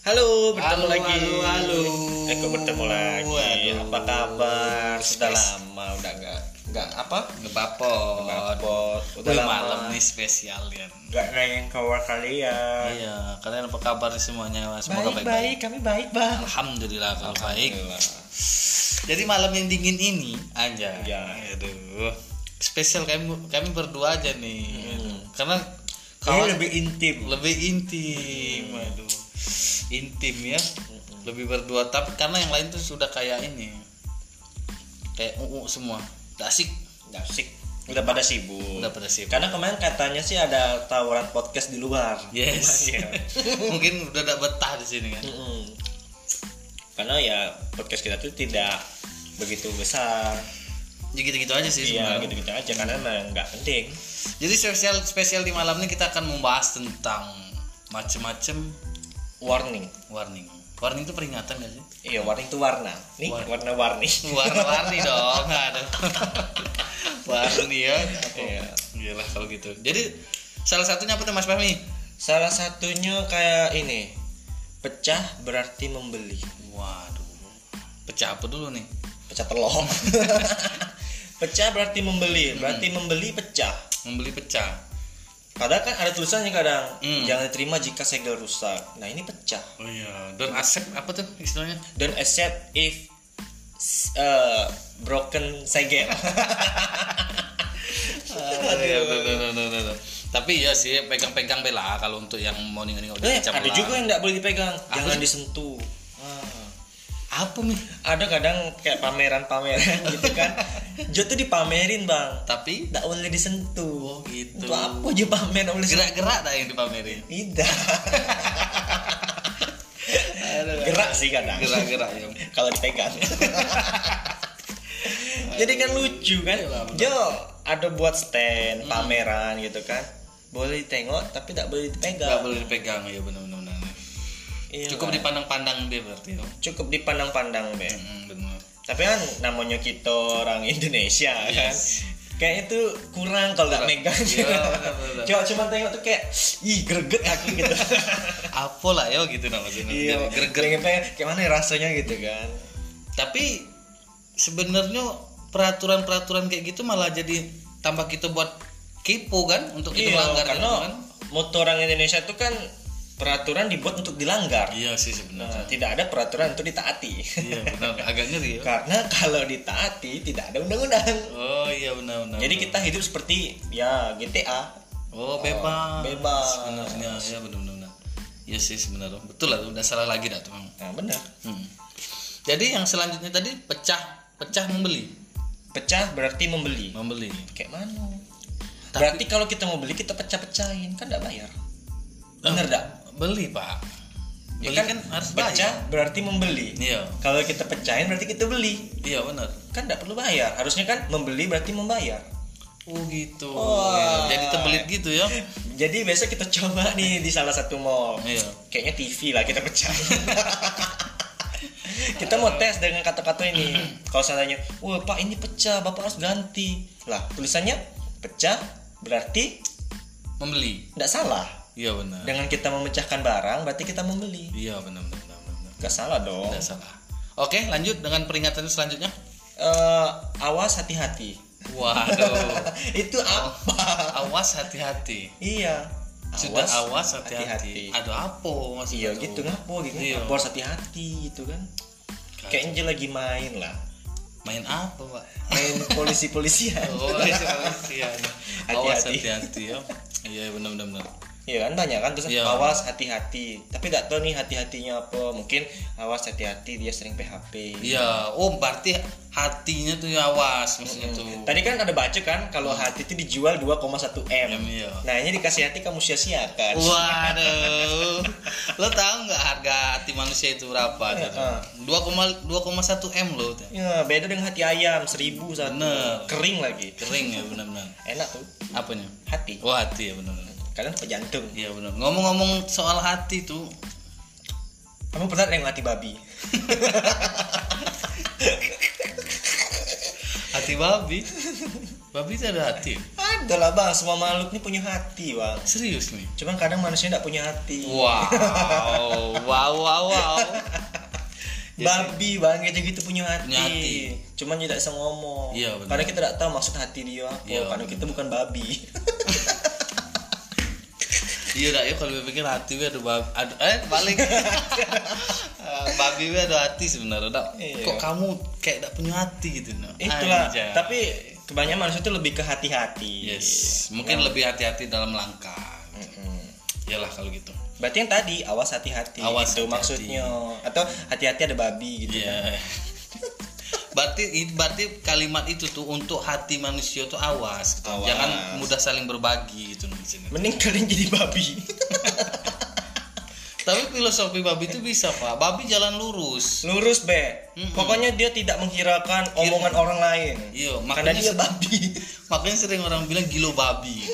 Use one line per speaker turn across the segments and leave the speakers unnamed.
Halo, bertemu
Halo,
lagi.
halo, halo.
Eh, kok bertemu lagi?
Waduh.
Apa kabar? Sudah
Spes.
lama, udah nggak nggak apa?
Ngebapot.
Ngepot. Udah
Wih,
lama.
malam nih spesial ya.
Nggak nanya kabar kalian.
Iya, kalian apa kabar semuanya? Iya, Semoga
Baik,
baik-baik.
baik, kami baik, Bang.
Alhamdulillah kalau baik.
Alhamdulillah.
Jadi malam yang dingin ini aja.
Ya.
Aduh. Spesial kami kami berdua aja nih. Karena
Ini
kalau lebih,
Hmm. lebih intim. Hmm.
intim. Aduh. Intim ya. Lebih berdua tapi karena yang lain tuh sudah kayak ini. Kayak uu semua. Gak asik.
Asik. Udah pada sibuk.
Udah pada sibuk.
Karena kemarin katanya sih ada tawaran podcast di luar.
Yes.
Iya.
Mungkin udah gak betah di sini kan.
Mm-mm. Karena ya podcast kita tuh tidak begitu besar.
Ya gitu-gitu aja
Iya,
sih sebenarnya.
gitu-gitu aja karena memang nggak penting.
Jadi spesial spesial di malam ini kita akan membahas tentang macam-macam
Warning.
warning. Warning itu peringatan gak sih?
Iya, warning itu warna. Nih,
Warna.
warna-warni.
Warna-warni dong, aduh. Warni ya. Apa?
Iya.
Iyalah kalau gitu. Jadi salah satunya apa tuh Mas Fahmi?
Salah satunya kayak ini. Pecah berarti membeli.
Waduh. Pecah apa dulu nih?
Pecah telom. pecah berarti
Hmm.
membeli, berarti membeli pecah.
Membeli pecah.
Padahal kan ada tulisannya kadang
Hmm.
jangan diterima jika segel rusak. Nah, ini pecah.
Oh iya, dan accept apa tuh istilahnya?
Don't accept if s- uh, broken segel.
Iya, tuh, tuh, tuh, tuh, tuh. Tapi ya sih pegang-pegang bela kalau untuk yang mau ninggalin udah
Eh,
pecah
ada
bela.
juga yang nggak boleh dipegang,
Apa
jangan
sih?
disentuh. Ah.
apa nih?
ada kadang kayak pameran-pameran gitu kan Jo tuh dipamerin bang
Tapi
Nggak boleh disentuh
Oh, gitu.
Untuk apa Jo pamer nggak boleh disentuh
gerak-gerak dah yang dipamerin.
Tidak Gerak sih kadang
Gerak-gerak ya.
Kalau dipegang Jadi kan lucu kan Hmm.
Iya, benar.
Jo ada buat stand pameran gitu kan boleh ditengok tapi tidak boleh
Gak
dipegang
boleh dipegang ya benar-benar.
Iya,
Cukup
kan?
dipandang-pandang deh berarti. ya.
cukup dipandang-pandang be
Hmm, benar.
tapi kan namanya kita orang Indonesia kan
Yes.
kayaknya tuh kurang kalau nggak megang
Iya, benar-benar.
coba cuma tengok tuh kayak ih greget aku gitu
Apa lah ya gitu namanya.
iya
Gerger.
pengen pengen kayak mana ya rasanya gitu kan
Tapi sebenarnya peraturan-peraturan kayak gitu malah jadi tambah kita buat kepo kan untuk
iya
kita melanggar
karena
gitu kan.
motor orang Indonesia tuh kan peraturan dibuat untuk dilanggar
Iya sih
Nah,
sebenarnya.
tidak ada peraturan untuk ditaati
Iya benar agak nyeri ya.
karena kalau ditaati tidak ada undang-undang
Oh iya benar-benar.
jadi kita hidup seperti ya GTA
Oh bebas.
bebas.
Sebenarnya ya benar-benar. Iya sih sebenarnya betul lah udah salah lagi dah tuh. Mang.
nah benar
Hmm. Jadi yang selanjutnya tadi pecah pecah membeli
pecah berarti membeli
membeli.
kayak mana
Tapi-
berarti kalau kita mau beli kita pecah-pecahin kan nggak bayar bener dah
Beli pak. Beli
Ya
kan, harus
pecah
bayar.
berarti membeli
Iya
kalau kita pecahin berarti kita beli
iya benar.
kan nggak perlu bayar harusnya kan membeli berarti membayar
Oh gitu.
Wah.
Jadi terbelit gitu ya.
jadi besok kita coba nih di salah satu mall
Iya.
kayaknya TV lah kita pecahin kita mau tes dengan kata-kata ini kalau seandainya wah pak ini pecah bapak harus ganti lah tulisannya pecah berarti
Membeli.
nggak salah
Iya benar.
dengan kita memecahkan barang berarti kita membeli
Iya benar benar benar. benar.
nggak salah dong
Tidak salah. Oke lanjut dengan peringatan selanjutnya.
Eh, awas hati-hati
Waduh.
itu apa
awas hati-hati.
iya
Oh. Sudah awas hati-hati.
hati-hati.
Aduh apa
iya
maksudnya tuh?
gitu ngapo gitu
Iya.
ngapo harus hati-hati gitu kan kayaknya dia lagi main lah
Main apa pak?
main polisi-polisian
Oh, polisian. Awas
Hati-hati.
hati-hati ya. Iya benar benar benar.
iya kan banyak kan terus
Iya.
awas hati-hati tapi nggak tahu nih hati-hatinya apa mungkin awas hati-hati dia sering PHP
Iya, oh berarti hatinya tuh ya awas maksudnya tuh.
Tadi kan ada baca kan kalau hati itu dijual 2,1 M.
M, Hmm. iya.
Nah, ini dikasih hati kamu sia-siakan.
Waduh, lo tahu nggak harga hati manusia itu berapa?
Heeh.
Dua koma dua koma satu m lo, tuh.
Ya, beda dengan hati ayam 1000 satu.
Bener.
Kering lagi.
kering ya benar-benar.
Enak tuh
Apanya?
hati.
Oh hati ya benar-benar.
Kalian apa jantung?
Iya benar. Ngomong-ngomong soal hati tuh,
Kamu pernah ada yang hati babi?
hati babi, babi itu ada hati. ya?
Ada lah bang, semua makhluk ini punya hati bang.
Serius nih.
Cuman kadang manusia tidak punya hati.
Wow, wow, wow, wow.
Babi bang gitu-gitu punya hati.
iya Punya hati.
Cuman tidak bisa ngomong.
Iya, benar.
Karena kita tidak tahu maksud hati dia apa.
Iya,
Karena kita bukan babi.
Iya dah, ya kalau dipikir hati gue ada babi, ada, eh balik. Eh, babi gue ada hati sebenarnya. Dak.
Iya.
Kok kamu kayak tidak punya hati gitu? Nak?
Itulah.
Anjay.
Tapi kebanyakan manusia itu lebih ke hati-hati. Iya. Ya.
yes, mungkin lebih hati-hati dalam langkah.
Mm-mm.
Iyalah kalau gitu.
Berarti yang tadi awas hati-hati.
Awas
gitu
hati-hati.
maksudnya. Atau hati-hati ada babi gitu.
Iya. berarti berarti kalimat itu tuh untuk hati manusia tuh awas, gitu.
Awas.
jangan mudah saling berbagi gitu di sini.
Mending kalian jadi babi.
Tapi filosofi babi itu bisa pak. Babi jalan lurus.
Lurus be.
Mm-mm.
Pokoknya dia tidak menghiraukan omongan orang lain.
Iya,
Karena
makanya
dia babi.
makanya sering orang bilang gilo babi.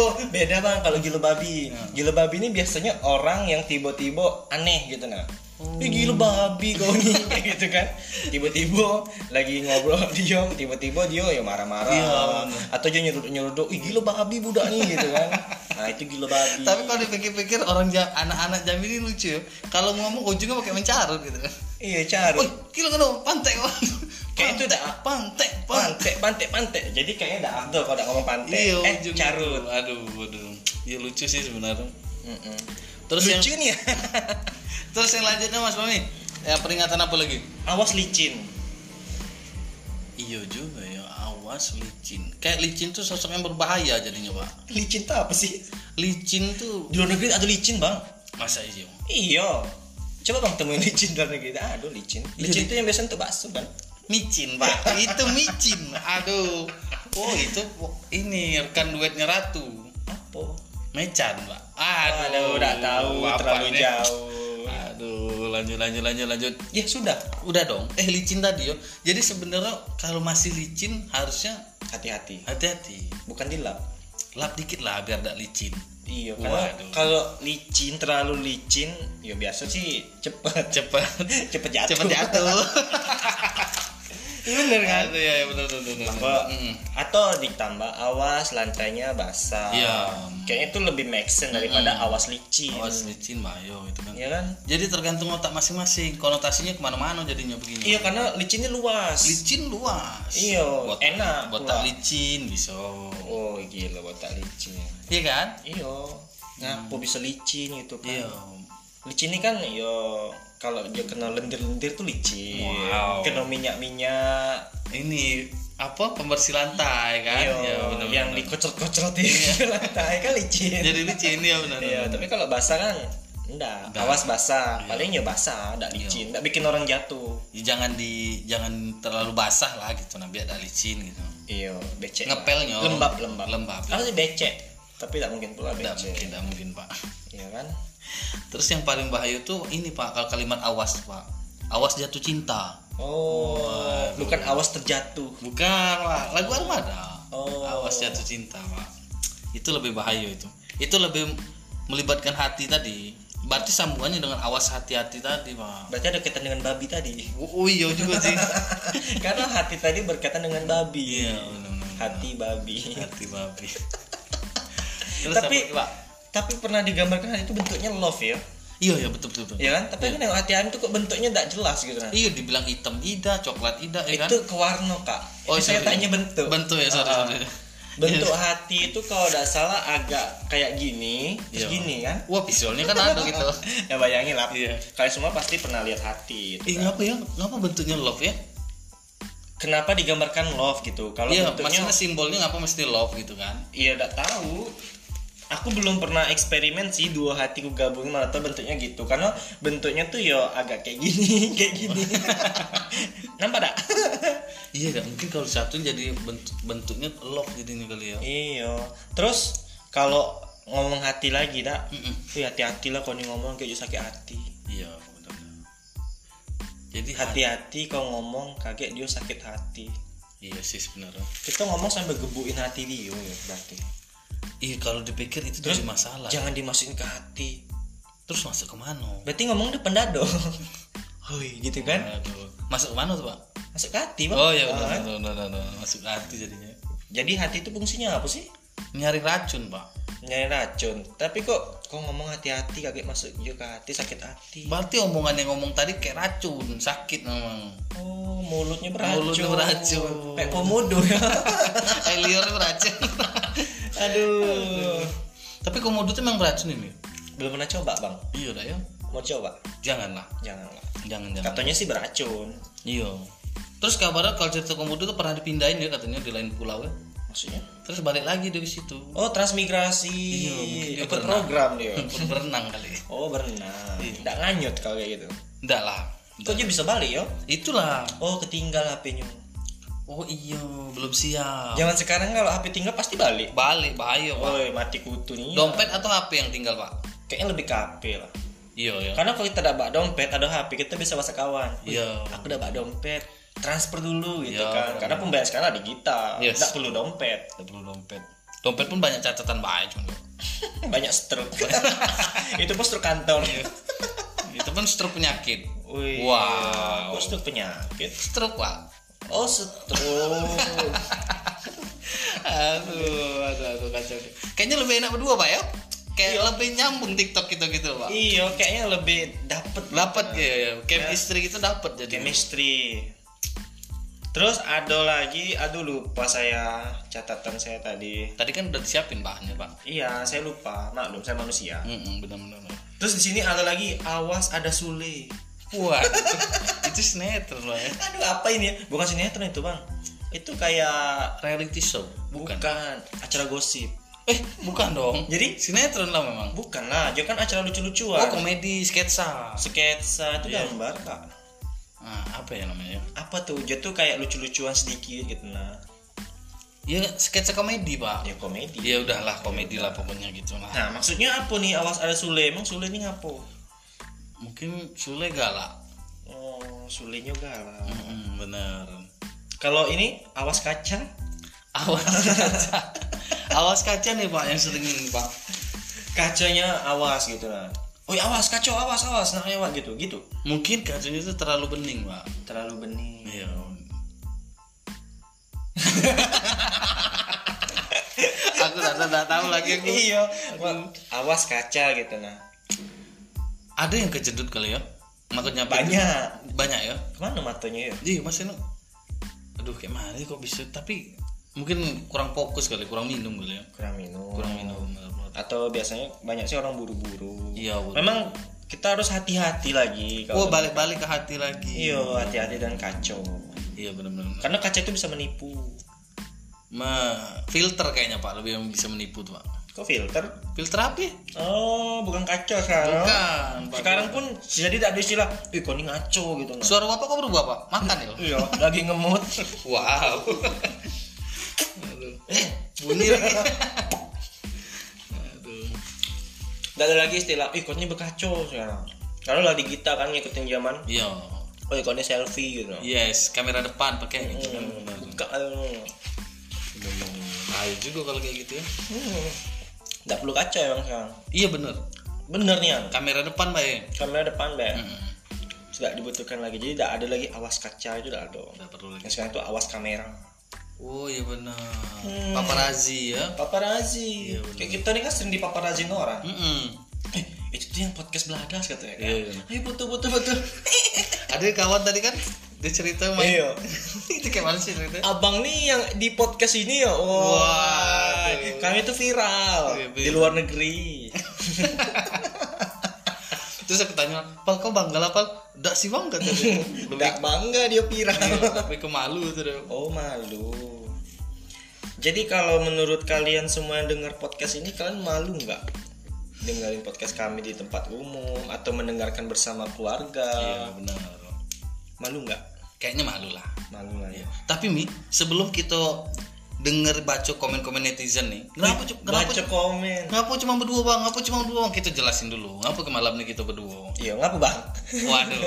Oh beda bang kalau gila babi.
Hmm.
Gila babi ini biasanya orang yang tiba-tiba aneh gitu nah.
Hmm.
Ih gila babi kau nih Kayak gitu kan. Tiba-tiba lagi ngobrol dia, tiba-tiba dia ya marah-marah.
Iya,
Atau dia nyeruduk-nyeruduk, ih gila babi budak nih gitu kan. Nah itu gila babi.
Tapi kalau dipikir-pikir orang ja- anak-anak jam ini lucu. ya. Kalau ngomong ujungnya pakai mencarut gitu.
iya cari.
Woi, gilo kan pantek
Kayak itu dah.
pantek
Pantek,
pantek.
pantek, pantek. Jadi kayaknya dah afdol kalau dah ngomong pantek.
Iya,
eh
ujungnya.
carut.
Aduh, aduh. Iya lucu sih sebenarnya.
Mm-mm.
Terus yang
Lucu nih ya.
terus yang lanjutnya Mas Mami, ya peringatan apa lagi?
Awas licin.
Iya juga ya, awas licin. Kayak licin tuh sosok yang berbahaya jadinya, Pak.
Licin tuh apa sih?
Licin tuh
Di luar negeri ada licin bang.
masa iya?
Iya. Coba bang temuin licin dalam negeri. Aduh licin. Licin
Iya,
itu yang biasa untuk bakso kan.
micin pak itu micin aduh oh itu ini rekan duetnya ratu
Apa?
mecan pak
Aduh,
aduh,
udah tahu
apa
terlalu
nih?
jauh.
aduh lanjut lanjut lanjut lanjut
Ya sudah.
udah dong eh licin tadi yo jadi sebenarnya kalau masih licin harusnya
Hati-hati.
hati-hati
Bukan dilap.
lap dikit lah biar tidak licin
Iya. Karena
Waduh.
kalau licin terlalu licin, ya biasa sih cepet
cepat
cepet jatuh.
cepat jatuh
Iya bener kan?
aduh ya ya, benar benar benar
Apa-
Mm.
Atau ditambah awas lantainya basah.
Iya.
Kayaknya itu lebih make sense daripada awas licin.
awas licin pak yo itu kan
Iya kan?
jadi tergantung otak masing-masing konotasinya kemana-mana jadinya begini
Iya karena licinnya luas.
licin luas
Iya, enak pula.
botak licin bisa
oh gila botak licin.
iya kan
Iyo, nah kok bisa licin gitu kan?
Mm. iya
Licin ini kan yo kalau dia kena lendir-lendir tuh licin.
Wow.
Kena minyak-minyak.
ini apa pembersih lantai kan
Iyo,
Iya, benar-benar.
yang dikocot-kocotin di lantai kan licin.
jadi licin ya benar
Iya, tapi kalau basah kan enggak.
Enggak.
Awas
Iya.
basah. Paling ya basah, enggak licin, enggak bikin orang jatuh.
Ya, jangan di jangan terlalu basah lah gitu nah biar ada licin gitu
Iyo, Iya, becek. lah.
Ngepelnya.
lembab, lembab.
Lembab, iya.
Harusnya becek. Tapi tak mungkin pula
tidak mungkin
becek.
tidak mungkin pak
Iya kan?
terus yang paling bahaya tuh ini pak kalau kalimat awas pak awas jatuh cinta
Oh, bukan awas terjatuh.
Bukan, Pak. Lagu Armada.
Oh.
Awas jatuh cinta, Pak. Itu lebih bahaya itu. Itu lebih melibatkan hati tadi. Berarti sambungannya dengan awas hati-hati tadi, Pak.
Berarti ada kaitan dengan babi tadi.
Oh, oh iya juga sih.
Karena hati tadi berkaitan dengan babi.
Iya, benar-benar.
Hati babi.
Hati babi.
Tapi-
apa lagi, Pak?
Tapi pernah digambarkan hal itu bentuknya love ya.
Iya, iya betul betul. betul.
Ya kan? Tapi kan yang hati-hati itu kok bentuknya tidak jelas gitu kan.
Iya, dibilang hitam ida, coklat ida, ya kan? Oh, iya,
Itu ke warna, Kak. Itu saya
sorry.
tanya bentuk.
Bentuk ya, sorry,
Ah, ah.
sorry. Iya.
Bentuk hati itu kalau tidak salah agak kayak gini, terus
Iya.
gini kan?
Wah, visualnya kan ada gitu.
ya bayangin lah.
Iya.
Kalian semua pasti pernah lihat hati.
Eh,
Gitu, kan.
ngapa ya? Ngapa bentuknya love ya?
Kenapa digambarkan love gitu? Kalau
Iya,
bentuknya
maksudnya simbolnya ngapa mesti love gitu kan?
Iya gak tahu. Aku belum pernah eksperimen sih dua hatiku gabungin malah tau bentuknya gitu karena bentuknya tuh yo agak kayak gini kayak gini. Nampak dak?
Iya, nggak mungkin kalau satu jadi bentuk bentuknya lock jadinya kali ya.
Iyo. Iya. Terus kalau ngomong hati lagi dak?
Mm-mm.
Wih hati-hati lah kalau nih ngomong kayak sakit hati.
Iya, benar-benar. Jadi hati.
Hati-hati kalau ngomong kaget dia sakit hati.
Iya sih sebenarnya.
Kita ngomong sambil gebukin hati dia ya berarti.
Iya, kalau dipikir itu
Terus
jadi masalah.
Jangan dimasukin ke hati.
Terus masuk ke mana?
Berarti ngomong depan dado. Hoi gitu kan?
Aduh. Masuk ke mana tuh, Pak?
Masuk ke hati, Bang.
Oh iya,
Ah,
benar benar benar, benar. masuk ke hati jadinya.
Jadi hati itu fungsinya apa sih?
nyari racun pak
Nyari racun. Tapi kok kok ngomong hati-hati kagak masuk juga ke hati sakit hati.
berarti omongan yang ngomong tadi kayak racun sakit memang
Oh, mulutnya beracun.
Mulutnya beracun.
Kayak komodo ya.
Eh, liurnya beracun
Aduh.
tapi komodo tuh memang beracun ini
Belum pernah coba, Bang.
iya lah ya
Mau coba?
janganlah
Janganlah.
jangan jangan
Katanya sih beracun.
iya terus kabarnya kalau cerita komodo tuh pernah dipindahin ya katanya di lain pulau ya
Maksudnya?
terus balik lagi dari situ
Oh, transmigrasi.
Iya, mungkin dia
Ikut
berenang. Iya.
program dia.
Ikut berenang kali
Oh, berenang. Enggak nganyut kalau kayak gitu.
enggak lah
Kok dia bisa balik, yo?
itulah
Oh, ketinggal HP-nya.
oh iya belum siap
Zaman sekarang kalau HP tinggal pasti balik.
balik bahaya pak
Woi, mati kutu nih.
dompet atau HP yang tinggal pak
Kayaknya lebih ke HP lah.
iya iya
Karena kalau kita dapat dompet ada HP, kita bisa bahasa kawan. Wih,
Iya.
Aku dapat dompet, transfer dulu gitu
Iya.
kan. Karena pembayaran sekarang ada digital,
Yes.
nggak perlu dompet.
Gak perlu dompet dompet pun banyak catatan ya, baik cuma
Banyak stroke. Itu pun stroke kantor.
Iya. itu pun stroke penyakit
Wih,
wow
Kok stroke penyakit?
stroke pak
Oh, stroke.
aduh aduh aduh kacau deh. kayaknya lebih enak berdua pak ya kayak lebih nyambung tiktok kita gitu pak
iya, kayaknya lebih dapet lah
dapat ya, ya. Cam istri kita dapat jadi
chemistry. Terus ada lagi, aduh lupa saya catatan saya tadi.
tadi kan udah disiapin bahannya pak
Iya, saya lupa. Maklum, saya manusia.
Mm-mm, benar-benar
Terus di sini ada lagi, awas ada Sule.
wah itu, itu sinetron pak ya
Aduh, apa ini? ya? Bukan sinetron itu, Bang. Itu kayak
reality show
bukan,
bukan
acara gosip.
eh bukan dong
Jadi?
sinetron lah memang
Bukan lah, dia kan acara
oh
lucu-lucuan.
komedi sketsa
Sketsa itu gambar, Kak.
ah, apa ya namanya
Apa tuh? Dia tuh kayak lucu-lucuan sedikit gitu nah.
ya sketsa komedi pak
Ya komedi.
ya udahlah komedi lah pokoknya gitu lah
Nah, maksudnya apa nih awas ada Sule? Emang Sule ini ngapo?
mungkin Sule galak
Oh, Sulenya galak.
Mm, bener
Kalau ini awas kaca.
awas kaca awas kaca nih pak yang sering ini pak
Kacanya awas gitu nah. Oi, awas kacau, awas, awas, nah lewat gitu, gitu.
mungkin kacanya itu terlalu bening pak
Terlalu bening.
iya aku rasa nggak tahu lagi aku
iya Wak, awas kaca gitu nah
ada yang kejedut kali ya maksudnya
banyak
banyak ya
kemana matanya ya
Iya Mas Eno Aduh kayak mana sih kok bisa Tapi mungkin kurang fokus kali Kurang minum kali ya
kurang minum
Kurang minum
atau biasanya banyak sih orang buru-buru
Iya betul.
memang kita harus hati-hati lagi
Wah
kalau
Oh, balik-balik ke hati lagi
iya hati-hati dan kacau
Iya benar-benar
karena kaca itu bisa menipu
Ma filter kayaknya Pak lebih yang bisa menipu tuh Pak.
kok filter
Filter apa? ya?
oh bukan kaca sekarang
Bukan. Pak.
sekarang pun jadi tidak ada istilah ih kok ini ngaco gitu nah.
Suara Bapak kok berubah Pak? Makan ya?
iya lagi ngemut
wow. Aduh. Eh, bunyi lagi. Aduh.
tidak ada lagi istilah ih kok ini berkacau sekarang kalau lagi kita kan ngikutin zaman
Iya.
oh ih, kok ini selfie gitu
Yes, kamera depan pakai gitu kan benar.
Enggak, eh,
Bahaya juga kalau kayak gitu ya.
hmm. Enggak perlu kaca emang sekarang.
Iya bener
Bener nih Ang.
Kamera depan Pak ya.
Kamera depan Bang.
Mm-mm.
Sudah dibutuhkan lagi. Jadi enggak ada lagi awas kaca itu enggak ada.
Nggak perlu
Yang sekarang itu awas kamera.
Oh iya benar. Hmm. Paparazzi ya.
Paparazzi.
Iya, bener.
Kayak kita nih kan sering dipaparazziin orang.
Mm-mm.
Eh, itu tuh yang podcast belagas katanya kan.
Iya, iya.
Ayo butuh butuh butuh.
Ada kawan tadi kan dia cerita main.
Iya.
itu kayak mana sih cerita?
Abang nih yang di podcast ini ya. Wah.
Waduh.
Kami itu viral
Iya,
di
viral.
luar negeri.
Terus aku tanya, "Pal kau bangga lah, Pal?" "Enggak sih, Bang," kata dia. Lebih
Enggak bangga dia viral.
lebih ke malu itu dia.
Oh malu. Jadi kalau menurut kalian semua yang dengar podcast ini kalian malu nggak dengerin podcast kami di tempat umum atau mendengarkan bersama keluarga?
Iya, benar.
Malu nggak?
Kayaknya malu lah.
Malu lah ya.
Tapi Mi, sebelum kita denger baca komen-komen netizen nih, kenapa cu- kenapa
Baca
cu-
komen.
Ngapa cuma berdua bang? Ngapa cuma berdua bang? Kita jelasin dulu. Ngapa ke malam ini kita berdua?
Iya ngapa bang?
Waduh.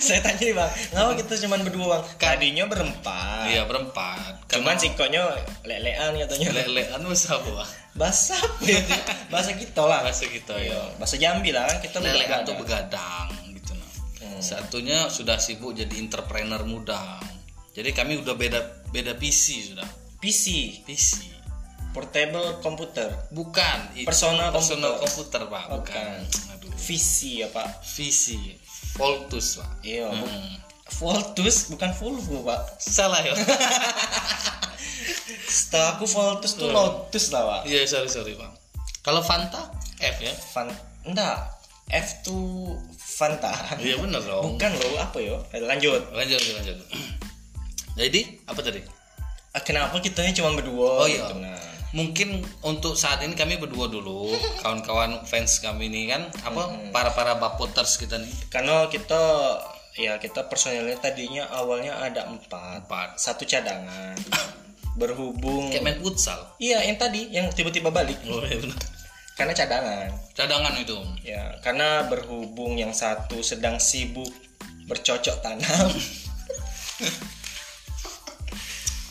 Saya tanya nih bang, ngapa kita cuman berdua bang? Tadinya berempat.
Iya berempat. anu,
Cuman sikonya lelean katanya.
Lelean masa apa?
Bahasa apa ya? Bahasa kita lah. Iya.
Bahasa kita ya.
Bahasa Jambi lah kan kita
Lelean
berbeda.
tuh begadang gitu nah.
Hmm.
Satunya sudah sibuk jadi entrepreneur muda. Jadi kami udah beda beda visi sudah.
PC,
PC
portable computer,
bukan itu
Personal
personal komputer, pak
Bukan.
bukan aduh
VC ya Pak.
VC Voltus pak
Iya, bu-
Hmm.
Voltus bukan Volvo Pak.
salah ya
Setahu aku Voltus
Hmm.
tuh Lotus lah Pak.
iya sorry sorry pak kalau Fanta F ya
Fan, enggak. F tuh Fanta.
iya bener dong
Bukan loh, apa yo? Lanjut.
lanjut lanjut lanjut jadi apa tadi
Ah, Kenapa kitanya cuma berdua?
Oh, iya.
gitu, nah.
mungkin untuk saat ini kami berdua dulu kawan-kawan fans kami ini kan apa para para bapoters kita nih
Karena kita ya kita personilnya tadinya awalnya ada empat,
Empat.
satu cadangan. Berhubung
kayak main futsal
Iya, yang tadi yang tiba-tiba balik
oh, iya bener.
karena cadangan.
cadangan itu
Ya, karena berhubung yang satu sedang sibuk bercocok tanam.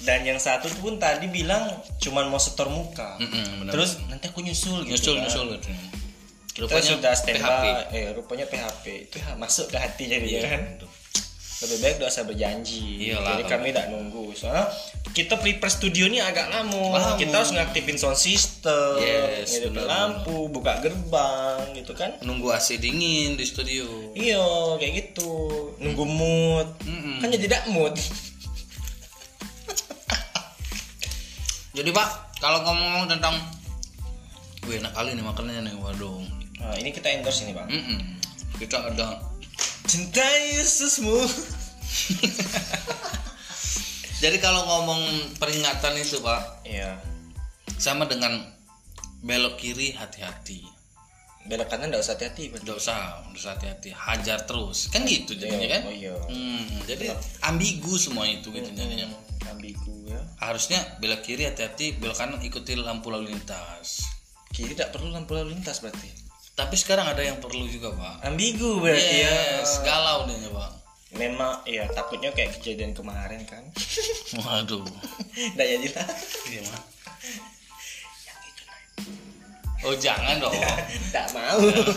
Dan yang satu pun tadi bilang cuman mau setor muka.
Mm-mm, bener.
Terus nanti aku nyusul gitu.
nyusul
kan.
nyusul gitu
Kita sudah
PHP.
standby, eh rupanya PHP itu ha, masuk ke hati jadinya kan. Lebih baik dosa berjanji.
Iya, Iyalah.
Jadi kami tidak nunggu. Soalnya kita prepare studio ini agak lama.
Lama.
Kita harus ngaktifin sound system,
Yes,
ngidupin
benar.
lampu, buka gerbang gitu kan.
nunggu AC dingin di studio
Iya, kayak gitu. Nunggu
Hmm.
mood.
Mm-mm.
Kan jadi tidak mood.
jadi pak kalau ngomong tentang gue enak kali nih makanannya nih waduh
Nah, ini kita endorse ini, Bang.
Mm-mm. kita ada
Cinta Yesusmu.
jadi kalau ngomong peringatan itu pak
Iya.
sama dengan belok kiri hati-hati
Belok kanan enggak usah hati-hati, Bang.
Gak usah, harus hati-hati, hajar terus. Kan gitu jadinya
Oh
kan?
iya.
Hmm, jadi ambigu semua itu gitu jadinya.
Ambigu ya.
Harusnya belok kiri hati-hati, belok kanan ikuti lampu lalu lintas.
Kiri tidak perlu lampu lalu lintas berarti.
Tapi sekarang ada yang perlu juga, Pak.
Ambigu berarti ya.
Yes, galau dia, Pak.
Memang ya takutnya kayak kejadian kemarin kan.
Waduh.
Enggak jadilah.
Gimana? Oh, jangan dong.
Enggak mau.
Iya.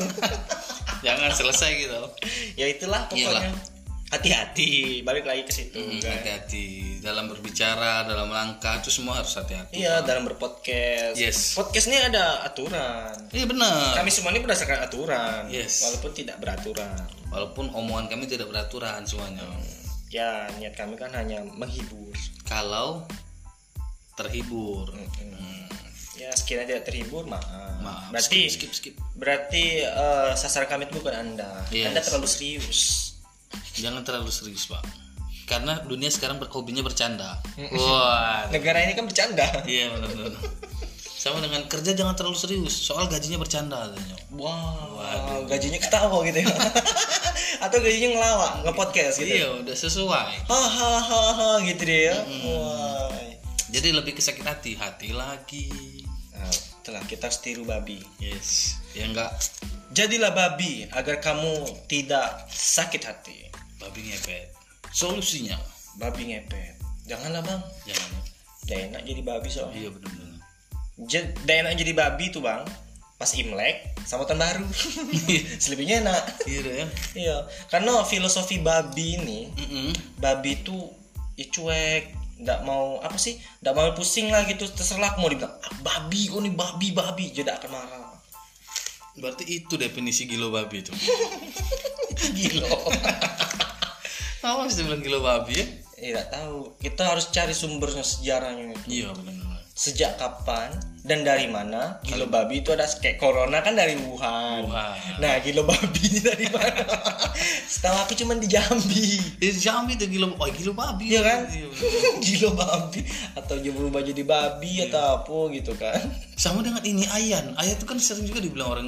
jangan selesai gitu.
ya itulah pokoknya.
Iyalah.
Hati-hati, balik lagi ke situ.
Hmm,
kan.
Hati-hati dalam berbicara, dalam langkah itu semua harus hati-hati.
Iya, dalam berpodcast.
Yes.
Podcastnya ada aturan.
Iya benar.
Kami semua ini berdasarkan aturan,
Yes.
walaupun tidak beraturan.
Walaupun omongan kami tidak beraturan semuanya.
Ya, niat kami kan hanya menghibur.
Kalau terhibur,
Hmm. Ya, sekiranya tidak terhibur, maaf.
Hmm. maaf.
Berarti
skip, skip, skip.
berarti eh, sasaran kami itu bukan Anda.
Yes.
Anda terlalu serius.
Jangan terlalu serius pak. Karena dunia sekarang ber- hobinya bercanda.
Hmm.
Wah.
Negara ini kan bercanda.
Iya benar benar. Sama dengan kerja jangan terlalu serius. Soal gajinya bercanda katanya.
Wow, gajinya ketawa gitu ya. Atau gajinya ngelawak, nge-podcast gitu.
Iya udah sesuai.
Hahaha gitu dia. ya. Wah.
Jadi lebih ke sakit hati, hati lagi.
Nah, itulah kita harus tiru babi.
Yes. Ya enggak.
Jadilah babi agar kamu tidak sakit hati.
Babi ngepet. Solusinya
Babi ngepet. Janganlah bang.
jangan. ya.
Gak enak jadi babi soalnya.
Iya benar benar.
Je- gak enak jadi babi tuh bang. Pas Imlek sama tahun baru. Selebihnya enak.
Iya ya.
Iya. Karena filosofi babi ini,
Mm-mm.
babi itu ya cuek, nggak mau apa sih, nggak mau pusing lah gitu. Terserah mau dibilang "Ah, babi, oh ini babi babi, jadi akan marah.
Berarti itu definisi gilo babi itu.
Gila.
Kenapa sih bilang gilo babi ya?
Iya nggak tahu. Kita harus cari sumbernya sejarahnya itu.
Iya benar-benar.
sejak kapan dan dari mana gilo babi itu ada kayak corona kan dari Wuhan.
Wuhan.
Nah, gilo babi ini dari mana? Setahu aku cuman di Jambi.
Eh Jambi itu gilo, oh gilo babi
Iya kan?
bener.
gilo babi atau dia berubah jadi babi atau apa gitu kan.
Sama dengan ini ayan. Ayan itu kan sering juga dibilang orang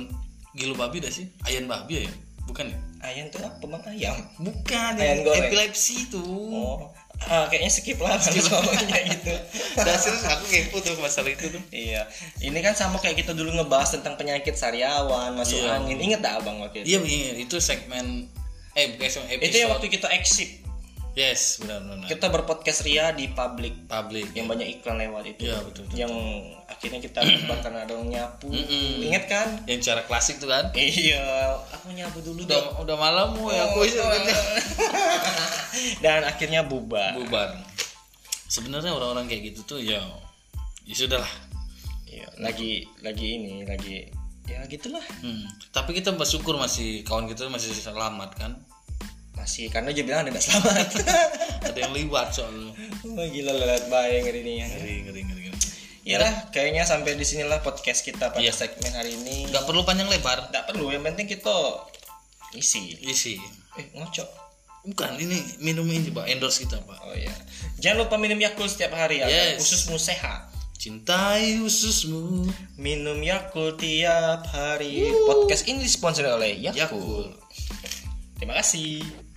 gilo babi dah sih. Ayan babi ya? Bukan ya?
Ayam tuh apa bang ayam?
Bukan.
Ayan
yang
goreng.
Epilepsi itu.
Oh, ah, kayaknya skip lah kalau ngomongnya gitu.
Dasar aku kepo tuh masalah itu tuh.
Iya, ini kan sama kayak kita dulu ngebahas tentang penyakit sariawan, masuk
Iya.
angin. Ingat tak abang waktu itu?
Iya iya itu segmen eh bukan segmen episode.
Itu yang waktu kita exit,
Yes benar-benar.
kita berpodcast Ria di public
Public.
yang banyak iklan lewat itu
Iya betul.
yang akhirnya kita bubar karena ada yang nyapu ingat kan
Yang cara klasik tuh kan?
iya aku nyapu dulu dong
Udah udah malam woy, aku iseng kerja.
dan akhirnya bubar
bubar sebenarnya orang-orang kayak gitu tuh ya ya sudahlah
Iya, lagi lagi ini lagi ya gitulah
hmm. tapi kita bersyukur masih kawan kita masih selamat kan
masih karena dia bilang ada nggak selamat
ada yang lewat soalnya
Wah, gila lelet bayang hari ini ya
ngeri ngeri ngeri ngeri
ya lah kayaknya sampai di sinilah podcast kita pada
Iya.
segmen hari ini
nggak perlu panjang lebar
nggak perlu yang penting kita isi
isi
eh ngocok
bukan ini minum ini pak endorse kita pak
oh ya jangan lupa minum Yakult setiap hari ya agar
Yes.
ususmu sehat
cintai ususmu
minum Yakult tiap hari podcast ini disponsori oleh Yakult
yakul
terima kasih